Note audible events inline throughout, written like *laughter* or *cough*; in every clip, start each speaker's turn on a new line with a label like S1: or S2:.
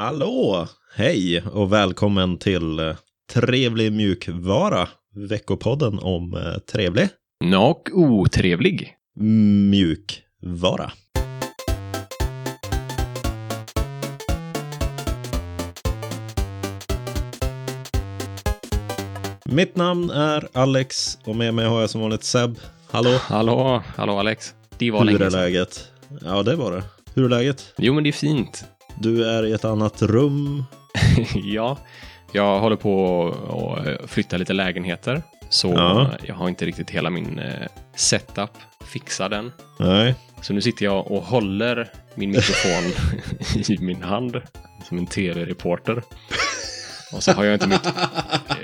S1: Hallå! Hej och välkommen till eh, Trevlig mjukvara, veckopodden om eh, trevlig
S2: Och otrevlig.
S1: mjukvara. Mitt namn är Alex och med mig har jag som vanligt Seb. Hallå!
S2: Hallå, hallå Alex. Det var
S1: Hur är
S2: länge sedan.
S1: läget? Ja, det var det. Hur är läget?
S2: Jo, men det är fint. *laughs*
S1: Du är i ett annat rum.
S2: ja, jag håller på att flytta lite lägenheter. Så
S1: Ja.
S2: jag har inte riktigt hela min eh, setup fixad än.
S1: Nej,
S2: Så nu sitter jag och håller min mikrofon *laughs* i min hand. Som en tv-reporter. Och så har jag
S1: *laughs*
S2: inte mitt,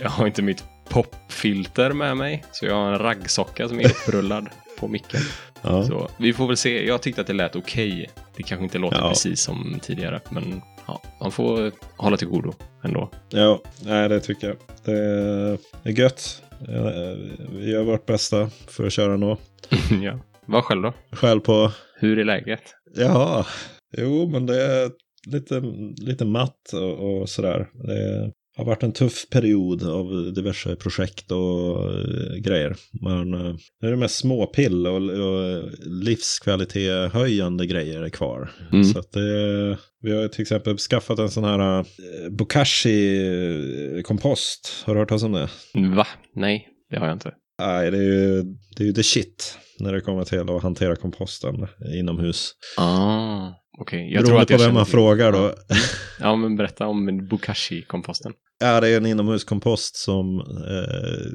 S2: jag har inte mitt popfilter med mig. Så jag har en raggsocka som är upprullad på micken.
S1: Ja.
S2: Så vi får väl se. Jag tyckte att det lät okej. Det kanske inte låter
S1: Ja.
S2: precis som tidigare, men ja, man får hålla till godo ändå. *laughs*
S1: Ja, nej, det tycker jag. Det är- det är gött. Eh, Vi gör vårt bästa för att köra nå.
S2: ja. Vad själv då?
S1: Skäl på...
S2: Hur är läget?
S1: Jaha. Jo, men det är lite, lite matt och, och sådär. Det har varit en tuff period av diverse projekt och eh, grejer. Men eh, nu är det mest småpill och, och livskvalitetshöjande grejer kvar.
S2: Mm.
S1: Så att det, vi har ju till exempel skaffat en sån här eh, bokashi-kompost. Har du hört talas om det?
S2: Va? Nej, det har jag inte.
S1: Nej, det är ju det, är ju the shit när det kommer till att hantera komposten inomhus.
S2: Ah, okej. Jag tror
S1: Beroende
S2: att
S1: på
S2: jag
S1: vem
S2: känner
S1: man
S2: till-
S1: frågar då.
S2: Ja, men berätta om Bokashi-komposten.
S1: Är det en inomhuskompost som eh,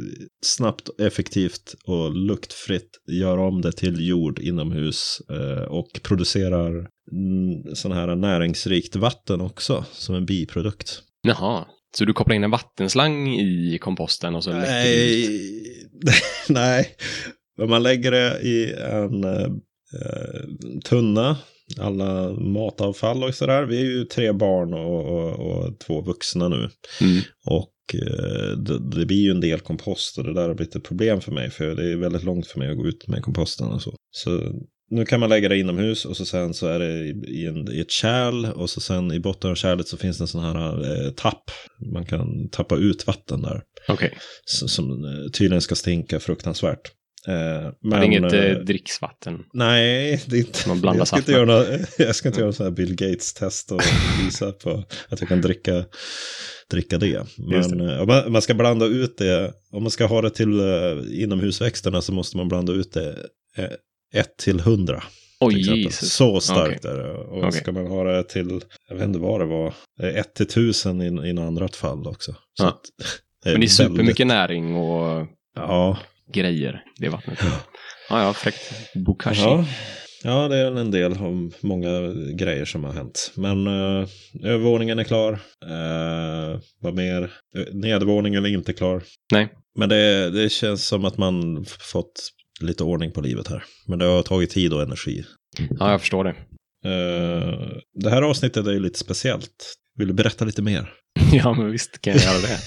S1: snabbt, effektivt och luktfritt gör om det till jord inomhus eh, och producerar mm, sån här näringsrikt vatten också som en biprodukt?
S2: Jaha, så du kopplar in en vattenslang i komposten och så läcker det ut?
S1: Nej, *laughs* nej. Men man lägger det i en eh, eh, tunna, alla matavfall och sådär. Vi är ju tre barn och, och, och två vuxna nu.
S2: Mm.
S1: Och eh, det, det blir ju en del kompost och det där har blivit ett problem för mig. För det är väldigt långt för mig att gå ut med komposten och så. Så nu kan man lägga det inomhus och så sen så är det i, i, en, i ett kärl och så sen i botten av kärlet så finns det en sån här eh, tapp. Man kan tappa ut vatten där
S2: Okej,
S1: som, som eh, tydligen ska stinka fruktansvärt. Eh, men,
S2: men, inget
S1: eh,
S2: eh, dricksvatten.
S1: nej, det är inte,
S2: Man blandar
S1: jag ska inte
S2: saft
S1: göra några, *laughs* jag ska inte göra så här Bill Gates-test och visa på att jag kan dricka, dricka det.
S2: Just
S1: Men eh, om man, om man ska blanda ut det, om man ska ha det till eh, inomhusväxterna så måste man blanda ut det eh, 1 till 100.
S2: Oj,
S1: till exempel.
S2: Jesus.
S1: Så starkt är det. Och
S2: Okej.
S1: ska man ha det till, jag vet inte vad det var, 1 till 1000 i, i något annat fall också. Så
S2: Ja.
S1: att, *laughs*
S2: Men det är
S1: väldigt-
S2: supermycket näring och
S1: Ja,
S2: grejer i det vattnet. Ja, ja, fräckt. Bokashi.
S1: Ja. ja, det är väl en del av många grejer som har hänt. Men eh, övervåningen är klar. Eh, vad mer? Eh, Nedervåningen är inte klar.
S2: Nej.
S1: Men det, det känns som att man f- fått lite ordning på livet här. Men det har tagit tid och energi.
S2: Ja, jag förstår det. *laughs*
S1: Eh, det här avsnittet är ju lite speciellt. Vill du berätta lite mer?
S2: Ja, men visst kan jag göra det.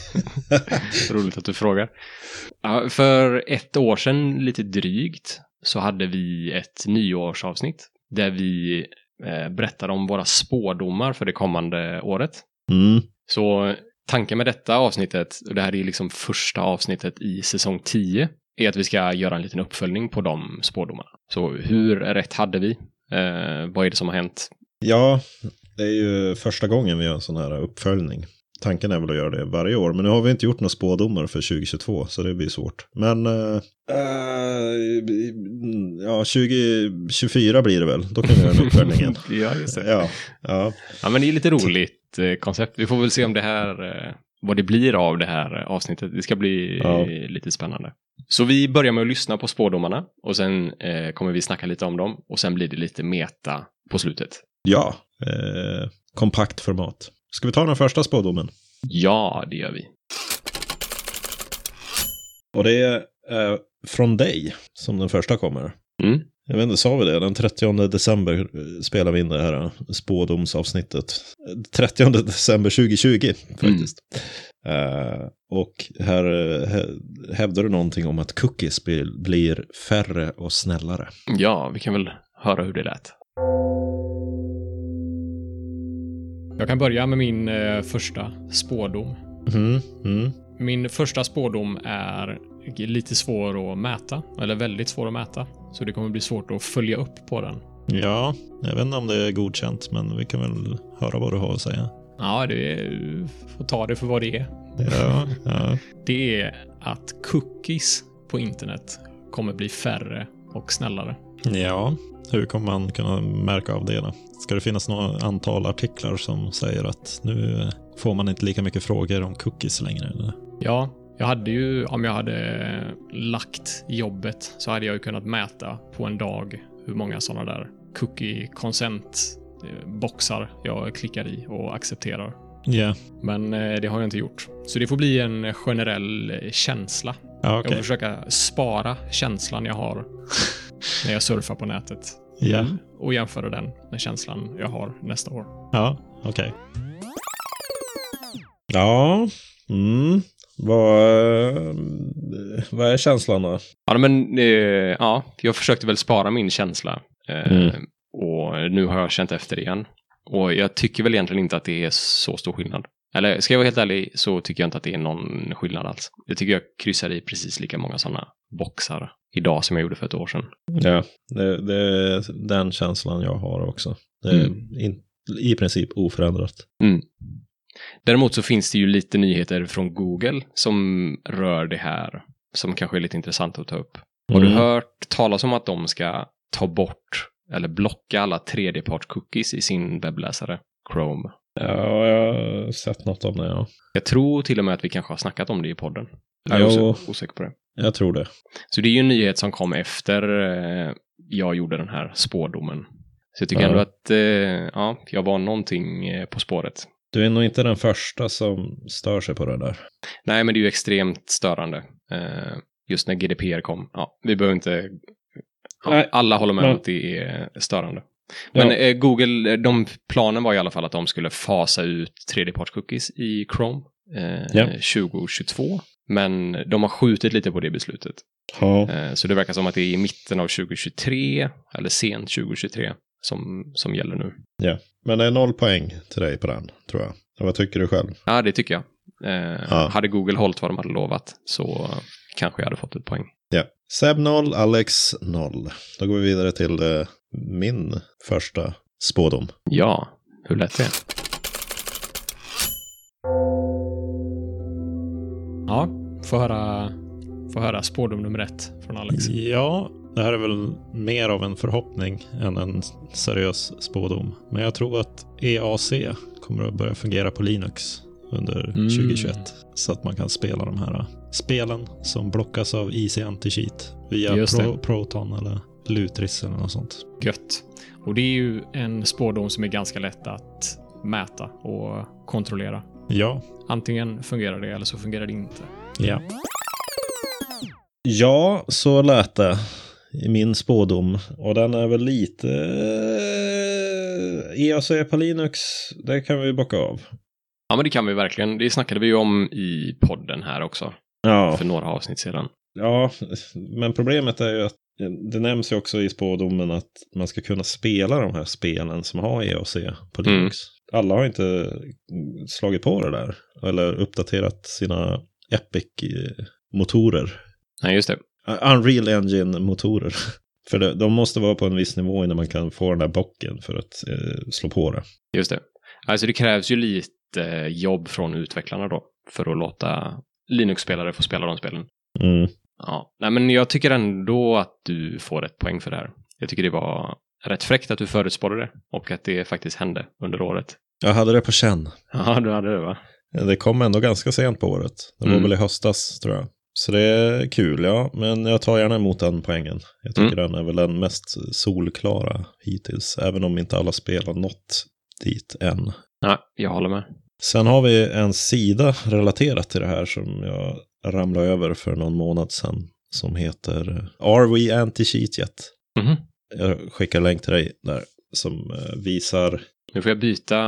S2: Roligt att du frågar. Ja, för ett år sedan, lite drygt, så hade vi ett nyårsavsnitt där vi eh, berättade om våra spådomar för det kommande året.
S1: Mm.
S2: Så tanken med detta avsnittet, och det här är ju liksom första avsnittet i säsong 10, är att vi ska göra en liten uppföljning på de spådomarna. Så hur rätt hade vi? Eh, vad är det som har hänt?
S1: Ja, det är ju första gången vi gör en sån här uppföljning. Tanken är väl att göra det varje år, men nu har vi inte gjort några spådomar för 2022, så det blir svårt. Men eh, eh, ja, 2024 blir det väl, då kan vi göra den uppföljningen.
S2: *laughs* ja, just det.
S1: ja, ja,
S2: Ja, men det är lite roligt eh, koncept. Vi får väl se om det här, eh, vad det blir av det här eh, avsnittet. Det ska bli eh,
S1: Ja.
S2: lite spännande. Så vi börjar med att lyssna på spådomarna och sen eh, kommer vi snacka lite om dem och sen blir det lite meta på slutet.
S1: ja eh, kompakt format. Ska vi ta den första spådomen?
S2: Ja, det gör vi.
S1: Och det är eh, från dig som den första kommer.
S2: Mm.
S1: Jag vet inte, sa vi det? Den 30 december eh, spelar vi in det här eh, spådomsavsnittet. Eh, 30 december 2020 faktiskt. Eh, och här eh, hä- hävdar du någonting om att cookies blir, blir färre och snällare.
S2: Ja, vi kan väl höra hur det lät.
S3: Jag kan börja med min eh, första spådom.
S1: Mm, mm,
S3: Min första spådom är lite svår att mäta, eller väldigt svår att mäta. Så det kommer bli svårt att följa upp på den.
S1: ja, jag vet inte om det är godkänt, men vi kan väl höra vad du har att säga.
S3: Ja, det är, du får ta det för vad det är.
S1: Ja, ja.
S3: Det är att cookies på internet kommer bli färre och snällare.
S1: ja, hur kommer man kunna märka av det då? Ska det finnas något antal artiklar som säger att nu eh, får man inte lika mycket frågor om cookies längre? Eller?
S3: Ja, jag hade ju, om jag hade lagt jobbet så hade jag ju kunnat mäta på en dag hur många sådana där cookie consent eh, boxar jag klickar i och accepterar.
S1: Ja,
S3: Men eh, det har jag inte gjort. Så det får bli en generell eh, känsla.
S1: ja
S3: Jag får
S1: okej.
S3: försöka spara känslan jag
S2: *laughs*
S3: har när jag surfar på nätet
S1: Ja,
S3: och jämföra den med känslan jag har nästa år.
S1: ja okej. Ja, mm. Vad, eh, vad är känslan då?
S2: Ja, men eh, ja, jag försökte väl spara min känsla. Eh,
S1: Mm.
S2: Och nu har jag känt efter igen. Och jag tycker väl egentligen inte att det är så stor skillnad. Eller ska jag vara helt ärlig så tycker jag inte att det är någon skillnad alls. Jag tycker jag kryssar i precis lika många sådana boxar idag som jag gjorde för ett år sedan.
S1: Ja, det, det är den känslan jag har också. Det är
S2: Mm.
S1: in, i princip oförändrat.
S2: Däremot så finns det ju lite nyheter från Google som rör det här som kanske är lite intressant att ta upp. Har du
S1: Mm.
S2: hört talas om att de ska ta bort eller blocka alla tredjeparts-cookies i sin webbläsare Chrome?
S1: Ja, jag har sett något om det, ja.
S2: Jag tror till och med att vi kanske har snackat om det i podden. Jag är
S1: Jo.
S2: osä- osäker på det.
S1: Jag tror det.
S2: Så det är ju en nyhet som kom efter eh, jag gjorde den här spårdomen. Så jag tycker
S1: Ja.
S2: ändå att eh, ja, jag var någonting eh, på spåret.
S1: Du är nog inte den första som stör sig på det där.
S2: Nej, men det är ju extremt störande. Eh, just när GDPR kom. Ja, vi behöver inte... Ja,
S1: Nej.
S2: alla håller med om
S1: Ja.
S2: att det är störande.
S1: Ja.
S2: Men eh, Google, eh, de planen var i alla fall att de skulle fasa ut tredjepartscookies i Chrome eh,
S1: Ja.
S2: 2022. Men de har skjutit lite på det beslutet.
S1: Ja.
S2: Eh, Så det verkar som att det är i mitten av 2023, eller sent 2023, som, som gäller nu.
S1: Men det är noll poäng till dig på den, tror jag. Ja, Vad tycker du själv?
S2: Ja, det tycker jag. Eh,
S1: Ja.
S2: Hade Google hållit vad de hade lovat så kanske jag hade fått ett poäng.
S1: Ja. Seb 0, Alex 0. Då går vi vidare till eh, min första spådom.
S2: Ja, hur lätt det?
S3: Ja, få höra, få höra spårdom nummer ett från Alex.
S2: Mm.
S1: Ja, det här är väl mer av en förhoppning än en seriös spådom. Men jag tror att EAC kommer att börja fungera på Linux under
S3: Mm.
S1: 2021. Så att man kan spela de här äh, spelen som blockas av IC Anti-Cheat via
S3: Just det.
S1: Pro- Proton eller Lutris eller något sånt.
S3: Gött. Och det är ju en spårdom som är ganska lätt att mäta och kontrollera.
S1: Ja.
S3: Antingen fungerar det eller så fungerar det inte.
S1: Ja. Ja, så lät det i min spådom. Och den är väl lite... äh, eh, EAC på Linux, det kan vi bocka av.
S2: Ja, men det kan vi verkligen. Det snackade vi ju om i podden här också,
S1: Ja.
S2: för några avsnitt sedan.
S1: Ja, men problemet är ju att det nämns ju också i spådomen att man ska kunna spela de här spelen som har EOC på
S2: Mm.
S1: Linux. Alla har inte slagit på det där eller uppdaterat sina Epic-motorer.
S2: Nej, just det.
S1: Eh, Unreal Engine-motorer. *laughs* För det, de måste vara på en viss nivå innan man kan få den där bocken för att eh, slå på det.
S2: Just det. Alltså det krävs ju lite eh, jobb från utvecklarna då, för att låta Linux-spelare få spela de spelen.
S1: Mm.
S2: Ja, nej men jag tycker ändå att du får ett poäng för det här. Jag tycker det var rätt fräckt att du förutspådde det och att det faktiskt hände under året.
S1: Jag hade det på känn.
S2: Ja, du hade det va?
S1: Det kom ändå ganska sent på året. Det var
S2: Mm.
S1: väl i höstas tror jag. Så det är kul, ja. Men jag tar gärna emot den poängen. Jag tycker den är väl den mest solklara hittills. Även om inte alla spel har nått dit än.
S2: Nej, jag håller med.
S1: Sen har vi en sida relaterat till det här som jag ramlade över för någon månad sedan. Som heter Are We Anti-Cheat Yet?
S2: Mhm.
S1: Jag skickar länk till dig där. Som eh, visar
S2: Nu får jag byta,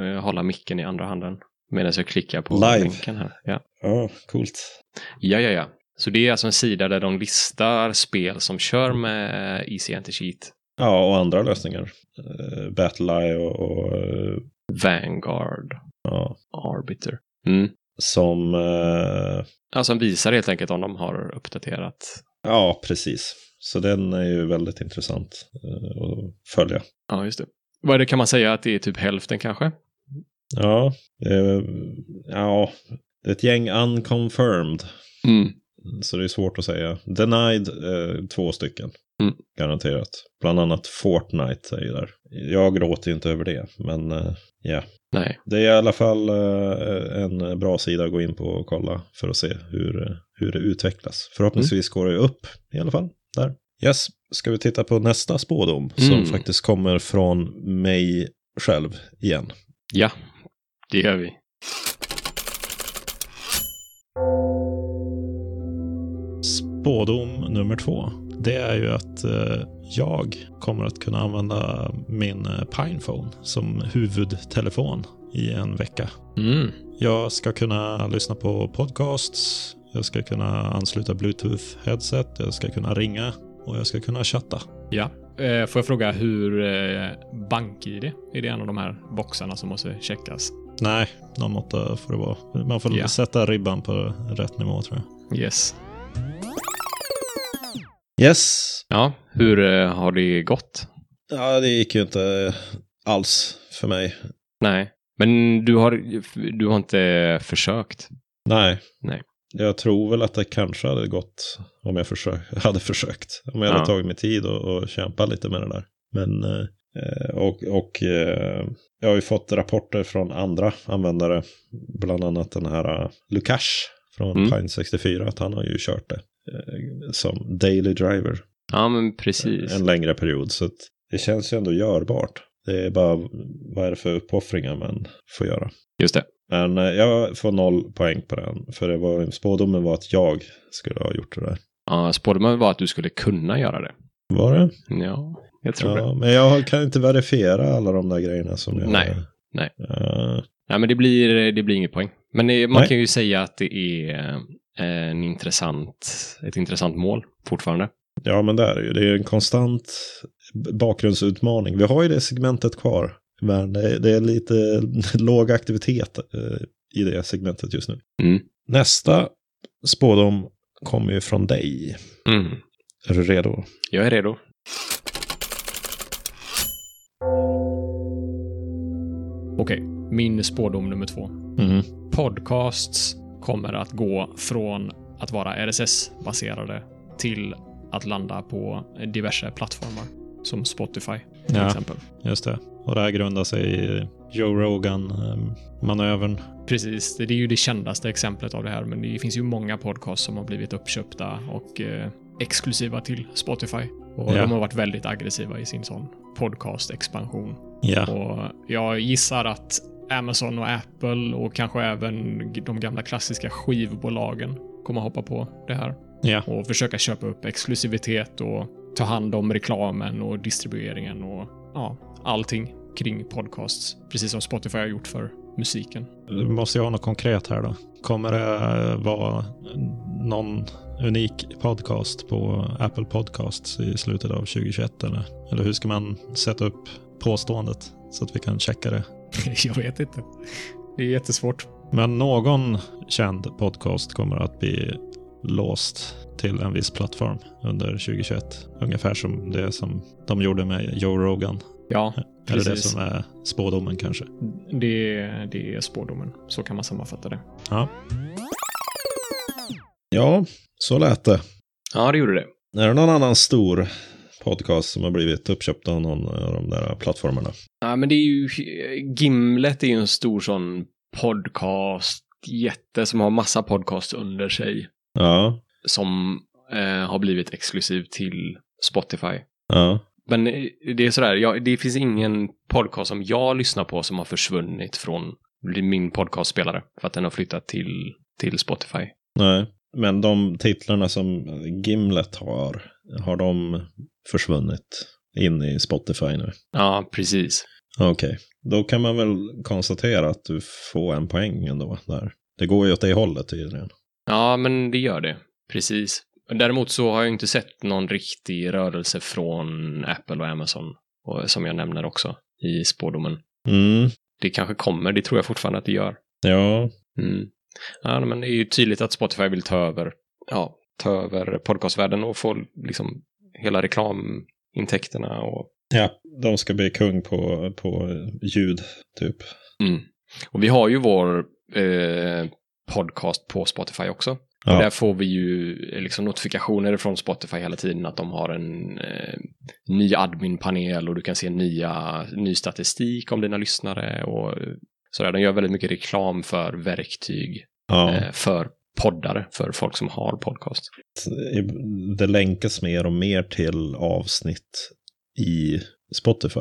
S2: eh, hålla micken i andra handen medan jag klickar på
S1: Live.
S2: länken här. Ja.
S1: Ja, coolt.
S2: ja, ja, ja. Så det är alltså en sida där de listar spel som kör E med Easy Anti-Cheat.
S1: Ja, och andra lösningar. Eh, Battle Eye och, och eh,
S2: Vanguard
S1: Ja.
S2: Arbiter. Mm.
S1: Som, eh,
S2: Ja, som visar helt enkelt om de har uppdaterat.
S1: ja precis. Så den är ju väldigt intressant eh, att följa.
S2: Ja, just det. Vad är det, kan man säga att det är typ hälften kanske?
S1: Ja, eh, ja, det är ett gäng unconfirmed.
S2: Mm.
S1: Så det är svårt att säga. Denied, eh, två stycken.
S2: Mm.
S1: Garanterat. Bland annat Fortnite är ju där. Jag gråter ju inte över det, men eh, ja.
S2: Nej,
S1: Det är i alla fall eh, en bra sida att gå in på och kolla för att se hur, eh, hur det utvecklas. Förhoppningsvis går det upp i alla fall där. Yes, ska vi titta på nästa spådom som
S2: Mm.
S1: faktiskt kommer från mig själv igen.
S2: ja, det gör vi.
S1: Spådom nummer två, det är ju att eh, jag kommer att kunna använda min eh, Pinephone som huvudtelefon i en vecka.
S3: Mm.
S1: Jag ska kunna lyssna på podcasts, jag ska kunna ansluta bluetooth-headset, jag ska kunna ringa och jag ska kunna chatta.
S3: Ja. Eh, Får jag fråga hur eh, BankID, är det en av de här boxarna som måste checkas?
S1: Nej, någon måtta får det vara. Man får
S3: Ja.
S1: sätta ribban på rätt nivå tror jag.
S3: Yes.
S1: Yes,
S2: Ja, hur eh, har det gått?
S1: ja, det gick ju inte alls för mig.
S2: Nej, men du har, du har inte försökt.
S1: Nej.
S2: Nej.
S1: Jag tror väl att det kanske hade gått om jag försö- *laughs* hade försökt. Om jag hade
S2: Ja.
S1: tagit mig tid och, och kämpat lite med det där. Men, eh, och, och eh, jag har ju fått rapporter från andra användare. Bland annat den här eh, Lukash från
S2: Mm.
S1: Pine64. Att han har ju kört det eh, som daily driver
S2: Ja, men precis.
S1: en längre period. Så att det känns ju ändå görbart. Det är bara vad är det för uppoffringar man får göra.
S2: Just det.
S1: Men eh, jag får noll poäng på den. För det var, spådomen var att jag skulle ha gjort det där.
S2: Ja, spådomen var att du skulle kunna göra det.
S1: Var det?
S2: Ja, jag tror det.
S1: Ja, men jag kan inte verifiera alla de där grejerna som jag...
S2: Nej, nej.
S1: Eh,
S2: Nej, men det blir, det blir inget poäng. Men det, man
S1: Nej.
S2: kan ju säga att det är eh, en intressant, ett intressant mål fortfarande.
S1: ja, men det är det ju. Det är ju en konstant b- bakgrundsutmaning. Vi har ju det segmentet kvar. Men det, det är lite *laughs* låg aktivitet eh, i det segmentet just nu.
S2: Mm.
S1: Nästa spådom kommer ju från dig.
S2: Mm.
S1: Är du redo?
S2: Jag är redo.
S3: Okej, min spådom nummer två.
S1: Mm.
S3: Podcasts kommer att gå från att vara RSS-baserade till att landa på diverse plattformar som Spotify till
S1: Ja.
S3: exempel.
S1: Just det. Och det här grundar sig i Joe ehm, Rogan-manövern.
S3: Precis, det är ju det kändaste exemplet av det här, men det finns ju många podcasts som har blivit uppköpta och eh, exklusiva till Spotify. Och
S1: Ja.
S3: de har varit väldigt aggressiva i sin sån podcast-expansion.
S1: Ja.
S3: Och jag gissar att Amazon och Apple och kanske även de gamla klassiska skivbolagen kommer hoppa på det här
S1: ja.
S3: och försöka köpa upp exklusivitet och ta hand om reklamen och distribueringen och ja, allting kring podcasts. Precis som Spotify har gjort för musiken.
S1: Du måste ju ha något konkret här då. Kommer det vara någon unik podcast på Apple Podcasts i slutet av 2021? Eller, eller hur ska man sätta upp påståendet så att vi kan checka det?
S3: *laughs* jag vet inte. Det är jättesvårt.
S1: Men någon känd podcast kommer att bli låst till en viss plattform under 2021. Ungefär som det som de gjorde med Joe Rogan.
S3: Ja,
S1: Eller det
S3: Precis.
S1: som är spådomen kanske.
S3: det, det är spådomen. Så kan man sammanfatta det.
S1: Ja, så lät det.
S2: Ja, det gjorde det.
S1: Är det någon annan stor podcast som har blivit uppköpt av någon av de där plattformarna?
S2: Ja, men det är ju, Gimlet är ju en stor sån podcast, jätte som har massa podcasts under sig
S1: Ja,
S2: som eh, har blivit exklusiv till Spotify.
S1: ja.
S2: Men eh, det är sådär, jag, det finns ingen podcast som jag lyssnar på som har försvunnit från min podcastspelare för att den har flyttat till, till Spotify.
S1: Nej. Men de titlarna som Gimlet har, har de försvunnit in i Spotify nu?
S2: Ja, precis.
S1: Okej, då kan man väl konstatera att du får en poäng ändå där. Det går ju åt det hållet tydligen.
S2: Ja, men det gör det. Precis. Däremot så har jag inte sett någon riktig rörelse från Apple och Amazon, och, som jag nämner också i spådomen.
S1: Mm.
S2: det kanske kommer, det tror jag fortfarande att det gör.
S1: Ja,
S2: Mm. Ja, men det är ju tydligt att Spotify vill ta över, ja, ta över podcastvärlden och få liksom hela reklamintäkterna och,
S1: ja. De ska bli kung på, på ljud, typ.
S2: och vi har ju vår eh, podcast på Spotify också.
S1: Ja.
S2: Och där får vi ju eh, liksom notifikationer från Spotify hela tiden att de har en eh, ny adminpanel och du kan se nya, ny statistik om dina lyssnare och eh, sådär. De gör väldigt mycket reklam för verktyg
S1: Ja.
S2: eh, för poddare, för folk som har podcast.
S1: i- det länkas mer och mer till avsnitt i Spotify.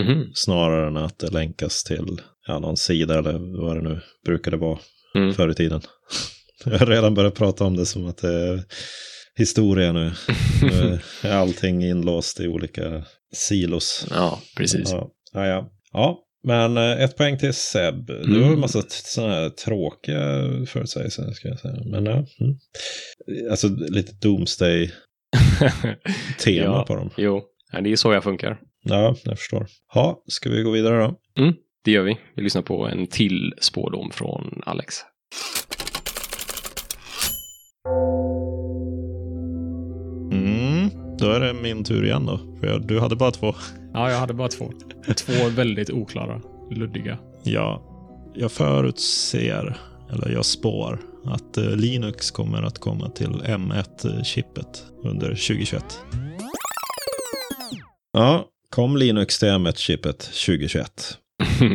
S2: Mhm.
S1: Snarare än att det länkas till ja, någon sida eller vad det nu brukade vara
S2: Mm.
S1: förr i tiden. *laughs* Jag har redan börjat prata om det som att det är historia nu. Nu är allting inlåst i olika silos.
S2: Ja, precis.
S1: Ja, ja, ja. ja. Men eh, ett poäng till Seb. Du har ju en massa sådana här tråkiga förutsägelser. Ska jag säga. Men, ja. mm. Alltså lite doomsday tema
S2: Ja.
S1: på dem.
S2: *laughs* jo, ja, det är så jag funkar.
S1: Ja, jag förstår. Ja, ska vi gå vidare då?
S2: Det gör vi. Vi lyssnar på en till spådom från Alex.
S1: Mm, då är det min tur igen då. För jag, du hade bara två.
S3: Ja, jag hade bara två. Två väldigt oklara, luddiga.
S1: Ja, jag förutser, eller jag spår, att eh, Linux kommer att komma till M1-chippet under 2021. Ja, kom Linux till M1-chippet 2021?
S2: *laughs*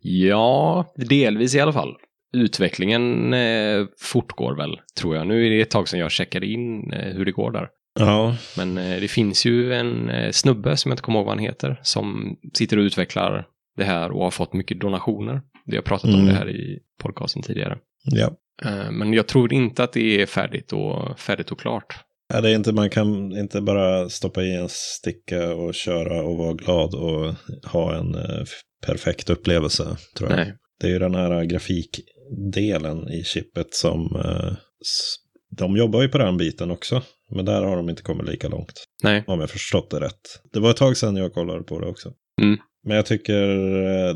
S2: ja, delvis i alla fall. Utvecklingen eh, fortgår väl, tror jag. Nu är det ett tag sedan jag checkade in eh, hur det går där.
S1: Ja,
S2: Men eh, det finns ju en eh, snubbe som jag inte kommer ihåg vad han heter som sitter och utvecklar det här och har fått mycket donationer. Vi har pratat om
S1: Mm.
S2: det här i podcasten tidigare.
S1: ja.
S2: Eh, men jag tror inte att det är färdigt och, färdigt och klart.
S1: Ja, Det är inte, man kan inte bara stoppa i en sticka och köra och vara glad och ha en eh, f- perfekt upplevelse, tror jag.
S2: Nej.
S1: Det är ju den här eh, grafikdelen i chippet som... eh, s- De jobbar ju på den biten också, men där har de inte kommit lika långt.
S2: Nej.
S1: Om jag förstått det rätt. Det var ett tag sedan jag kollade på det också.
S2: Mm.
S1: Men jag tycker eh,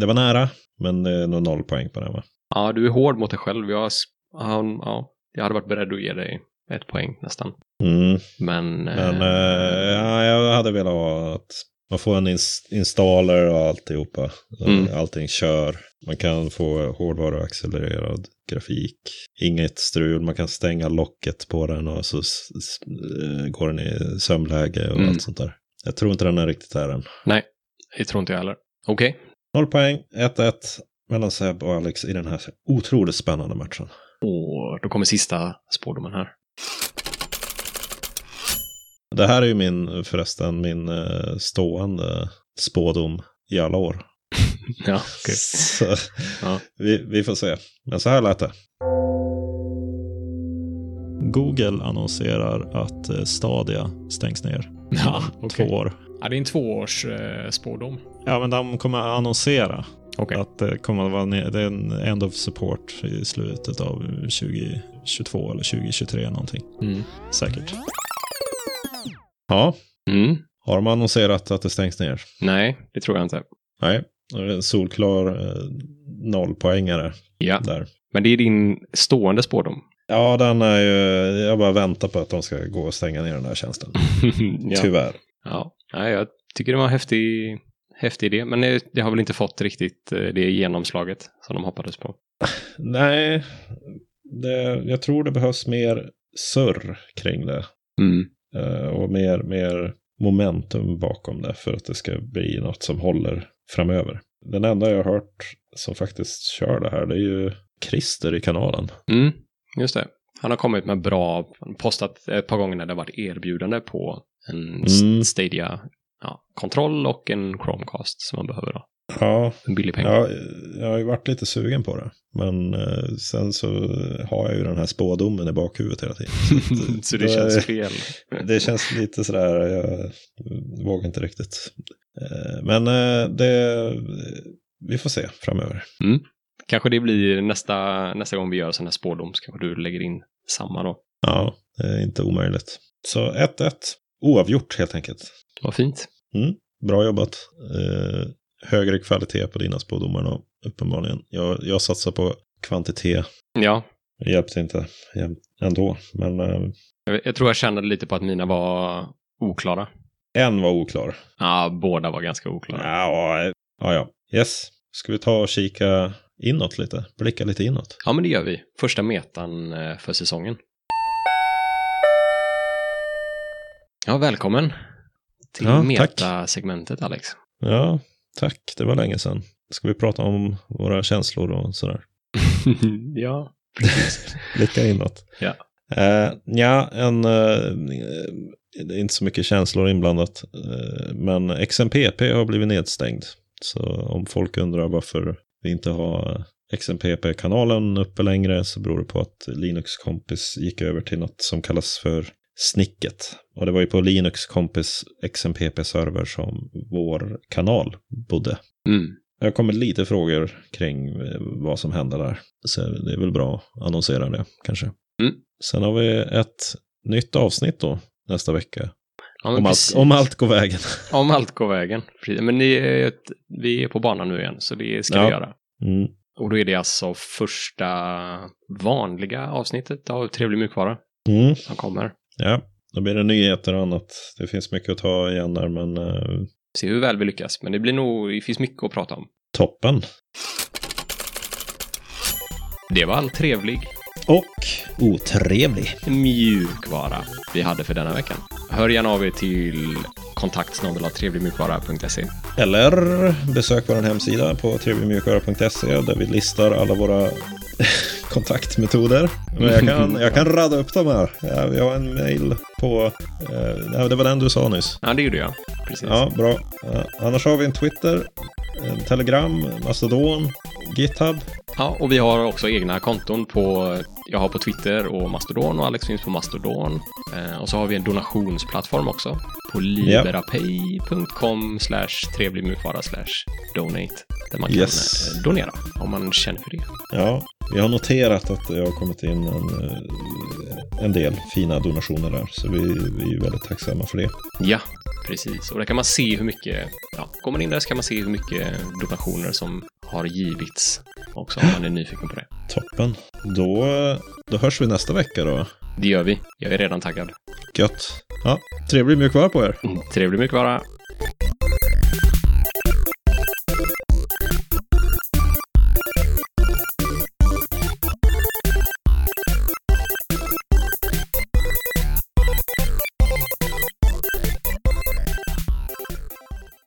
S1: det var nära, men det är nog noll poäng på den va?
S2: Ja, du är hård mot dig själv. Jag, s- ja, ja, jag hade varit beredd att ge dig ett poäng nästan.
S1: Mm.
S2: Men... eh,
S1: Men eh, ja, jag hade velat ha att man får en ins- installer och alltihopa. Eh,
S2: Mm.
S1: Allting kör. Man kan få hårdvaruaccelererad grafik. Inget strul. Man kan stänga locket på den och så s- s- eh, går den i sömnläge och
S2: Mm.
S1: allt sånt där. Jag tror inte den är riktigt där än.
S2: Det tror inte jag heller. Okej.
S1: Noll poäng, 1-1 mellan Seb och Alex i den här otroligt spännande matchen.
S2: Och då kommer sista spårdomen här.
S1: Det här är ju min, förresten, min eh, stående spådom i alla år.
S2: Ja, okej.
S1: Så,
S2: Ja.
S1: vi, vi får se. Men så här lät det.
S4: Google annonserar att eh, Stadia stängs ner
S3: Ja, okej.
S4: två år.
S3: Ja, det är en tvåårs eh, spårdom.
S4: Ja, men de kommer att annonsera
S3: Okej.
S4: att det kommer att vara ne- det är en end of support i slutet av 2022 eller 2023 någonting.
S2: Mm.
S4: Säkert.
S1: Ja,
S2: Mm.
S1: har de annonserat att det stängs ner?
S2: Nej, det tror jag inte.
S1: Nej, då är det en solklar eh, nollpoängare
S2: Ja,
S1: där.
S2: men det är din stående spårdom.
S1: Ja, den är ju, jag bara väntar på att de ska gå och stänga ner den här tjänsten.
S2: ja.
S1: Tyvärr.
S2: Ja. Nej, jag tycker det var en häftig, häftig idé, men det, det har väl inte fått riktigt eh, det genomslaget som de hoppades på.
S1: Nej, det, jag tror det behövs mer surr kring det.
S2: Mm.
S1: Eh, och mer, mer momentum bakom det för att det ska bli något som håller framöver. Den enda jag har hört som faktiskt kör det här det är ju Christer i kanalen.
S2: Mm. Just det. Han har kommit med bra, han har postat ett par gånger när det har varit erbjudande på en
S1: Mm.
S2: mm. Stadia-kontroll och en Chromecast som man behöver då.
S1: Ja,
S2: En billig peng.
S1: jag, jag har ju varit lite sugen på det. Men eh, sen så har jag ju den här spådomen i bakhuvudet hela
S2: *laughs*
S1: tiden.
S2: *laughs*
S1: eh,
S2: Så det känns fel.
S1: Det känns lite sådär, jag vågar inte riktigt. Eh, Men eh, det, vi får se framöver.
S2: Kanske det blir nästa, nästa gång vi gör sån här spårdom så kanske du lägger in samma då.
S1: Ja, det är inte omöjligt. Så 1-1. Oavgjort helt enkelt.
S2: Vad fint.
S1: Bra jobbat. Eh, högre kvalitet på dina spådomar då, uppenbarligen. Jag, jag satsar på kvantitet.
S2: Ja,
S1: Det hjälpte inte jäm- ändå, men eh,
S2: jag, jag tror jag kände lite på att mina var oklara.
S1: en var oklar.
S2: Ja, båda var ganska oklara.
S1: Ja, ja, ja. Yes. Ska vi ta och kika inåt lite? Blicka lite inåt.
S2: Ja, men det gör vi. Första metan eh, för säsongen. Ja, välkommen till
S1: Ja, tack. *laughs*
S2: metasegmentet, Alex.
S1: Ja, tack. Det var länge sedan. Ska vi prata om våra känslor och sådär?
S2: ja.
S1: Blicka inåt.
S2: Ja.
S1: Eh, nja, en, eh, det är inte så mycket känslor inblandat. Eh, men XMPP har blivit nedstängd. Så om folk undrar varför vi inte har XMPP-kanalen uppe längre så beror det på att Linux kompis gick över till något som kallas för Snicket. Och det var ju på Linux kompis XMPP-server som vår kanal bodde.
S2: Mm.
S1: Jag kommer lite frågor kring eh, vad som händer där. Så det är väl bra att annonsera det kanske.
S2: Mm.
S1: Sen har vi ett nytt avsnitt då nästa vecka.
S2: Ja, men
S1: Om allt,
S2: precis.
S1: om allt går vägen. *laughs*
S2: Om allt går vägen. Precis. Men det är ett, vi är på banan nu igen, så det ska
S1: Ja.
S2: vi göra.
S1: Mm.
S2: Och då är det alltså första vanliga avsnittet av Trevlig mjukvara
S1: Mm.
S2: som kommer.
S1: Ja, då blir det nyheter och annat. Det finns mycket att ta igen där, men eh,
S2: Se hur väl vi lyckas, men det blir nog, det finns mycket att prata om.
S1: toppen.
S2: Det var all trevlig
S1: Och otrevlig.
S2: mjukvara vi hade för denna veckan. Hör gärna av er till kontaktsnabelavtrevligmjukvara.se.
S1: Eller besök vår hemsida på trevligmjukvara.se där vi listar alla våra *laughs* kontaktmetoder. Men jag kan, jag kan rada upp dem här. Ja, Vi har en mail på... Eh, nej, det var den du sa nyss.
S2: Ja, det gjorde jag. Precis.
S1: Ja, bra. Eh, annars har vi en Twitter, en Telegram, Mastodon, GitHub.
S2: Ja, och vi har också egna konton på, jag har på Twitter och Mastodon och Alex finns på Mastodon. Eh, och så har vi en donationsplattform också på liberapay.com slash trevligmjukvara slash donate. Där man kan
S1: Yes.
S2: eh, donera om man känner för det.
S1: Ja, vi har noterat att det har kommit in en, eh, en del fina donationer där. Så vi, vi är väldigt tacksamma för det.
S2: Ja, precis. Och där kan man se hur mycket, ja, går man in där så kan man se hur mycket donationer som har givits också om man är nyfiken på det.
S1: Toppen. Då, då hörs vi nästa vecka då.
S2: Det gör vi. Jag är redan taggad.
S1: Gött. Ja, trevlig mjukvara på er.
S2: Trevlig mjukvara.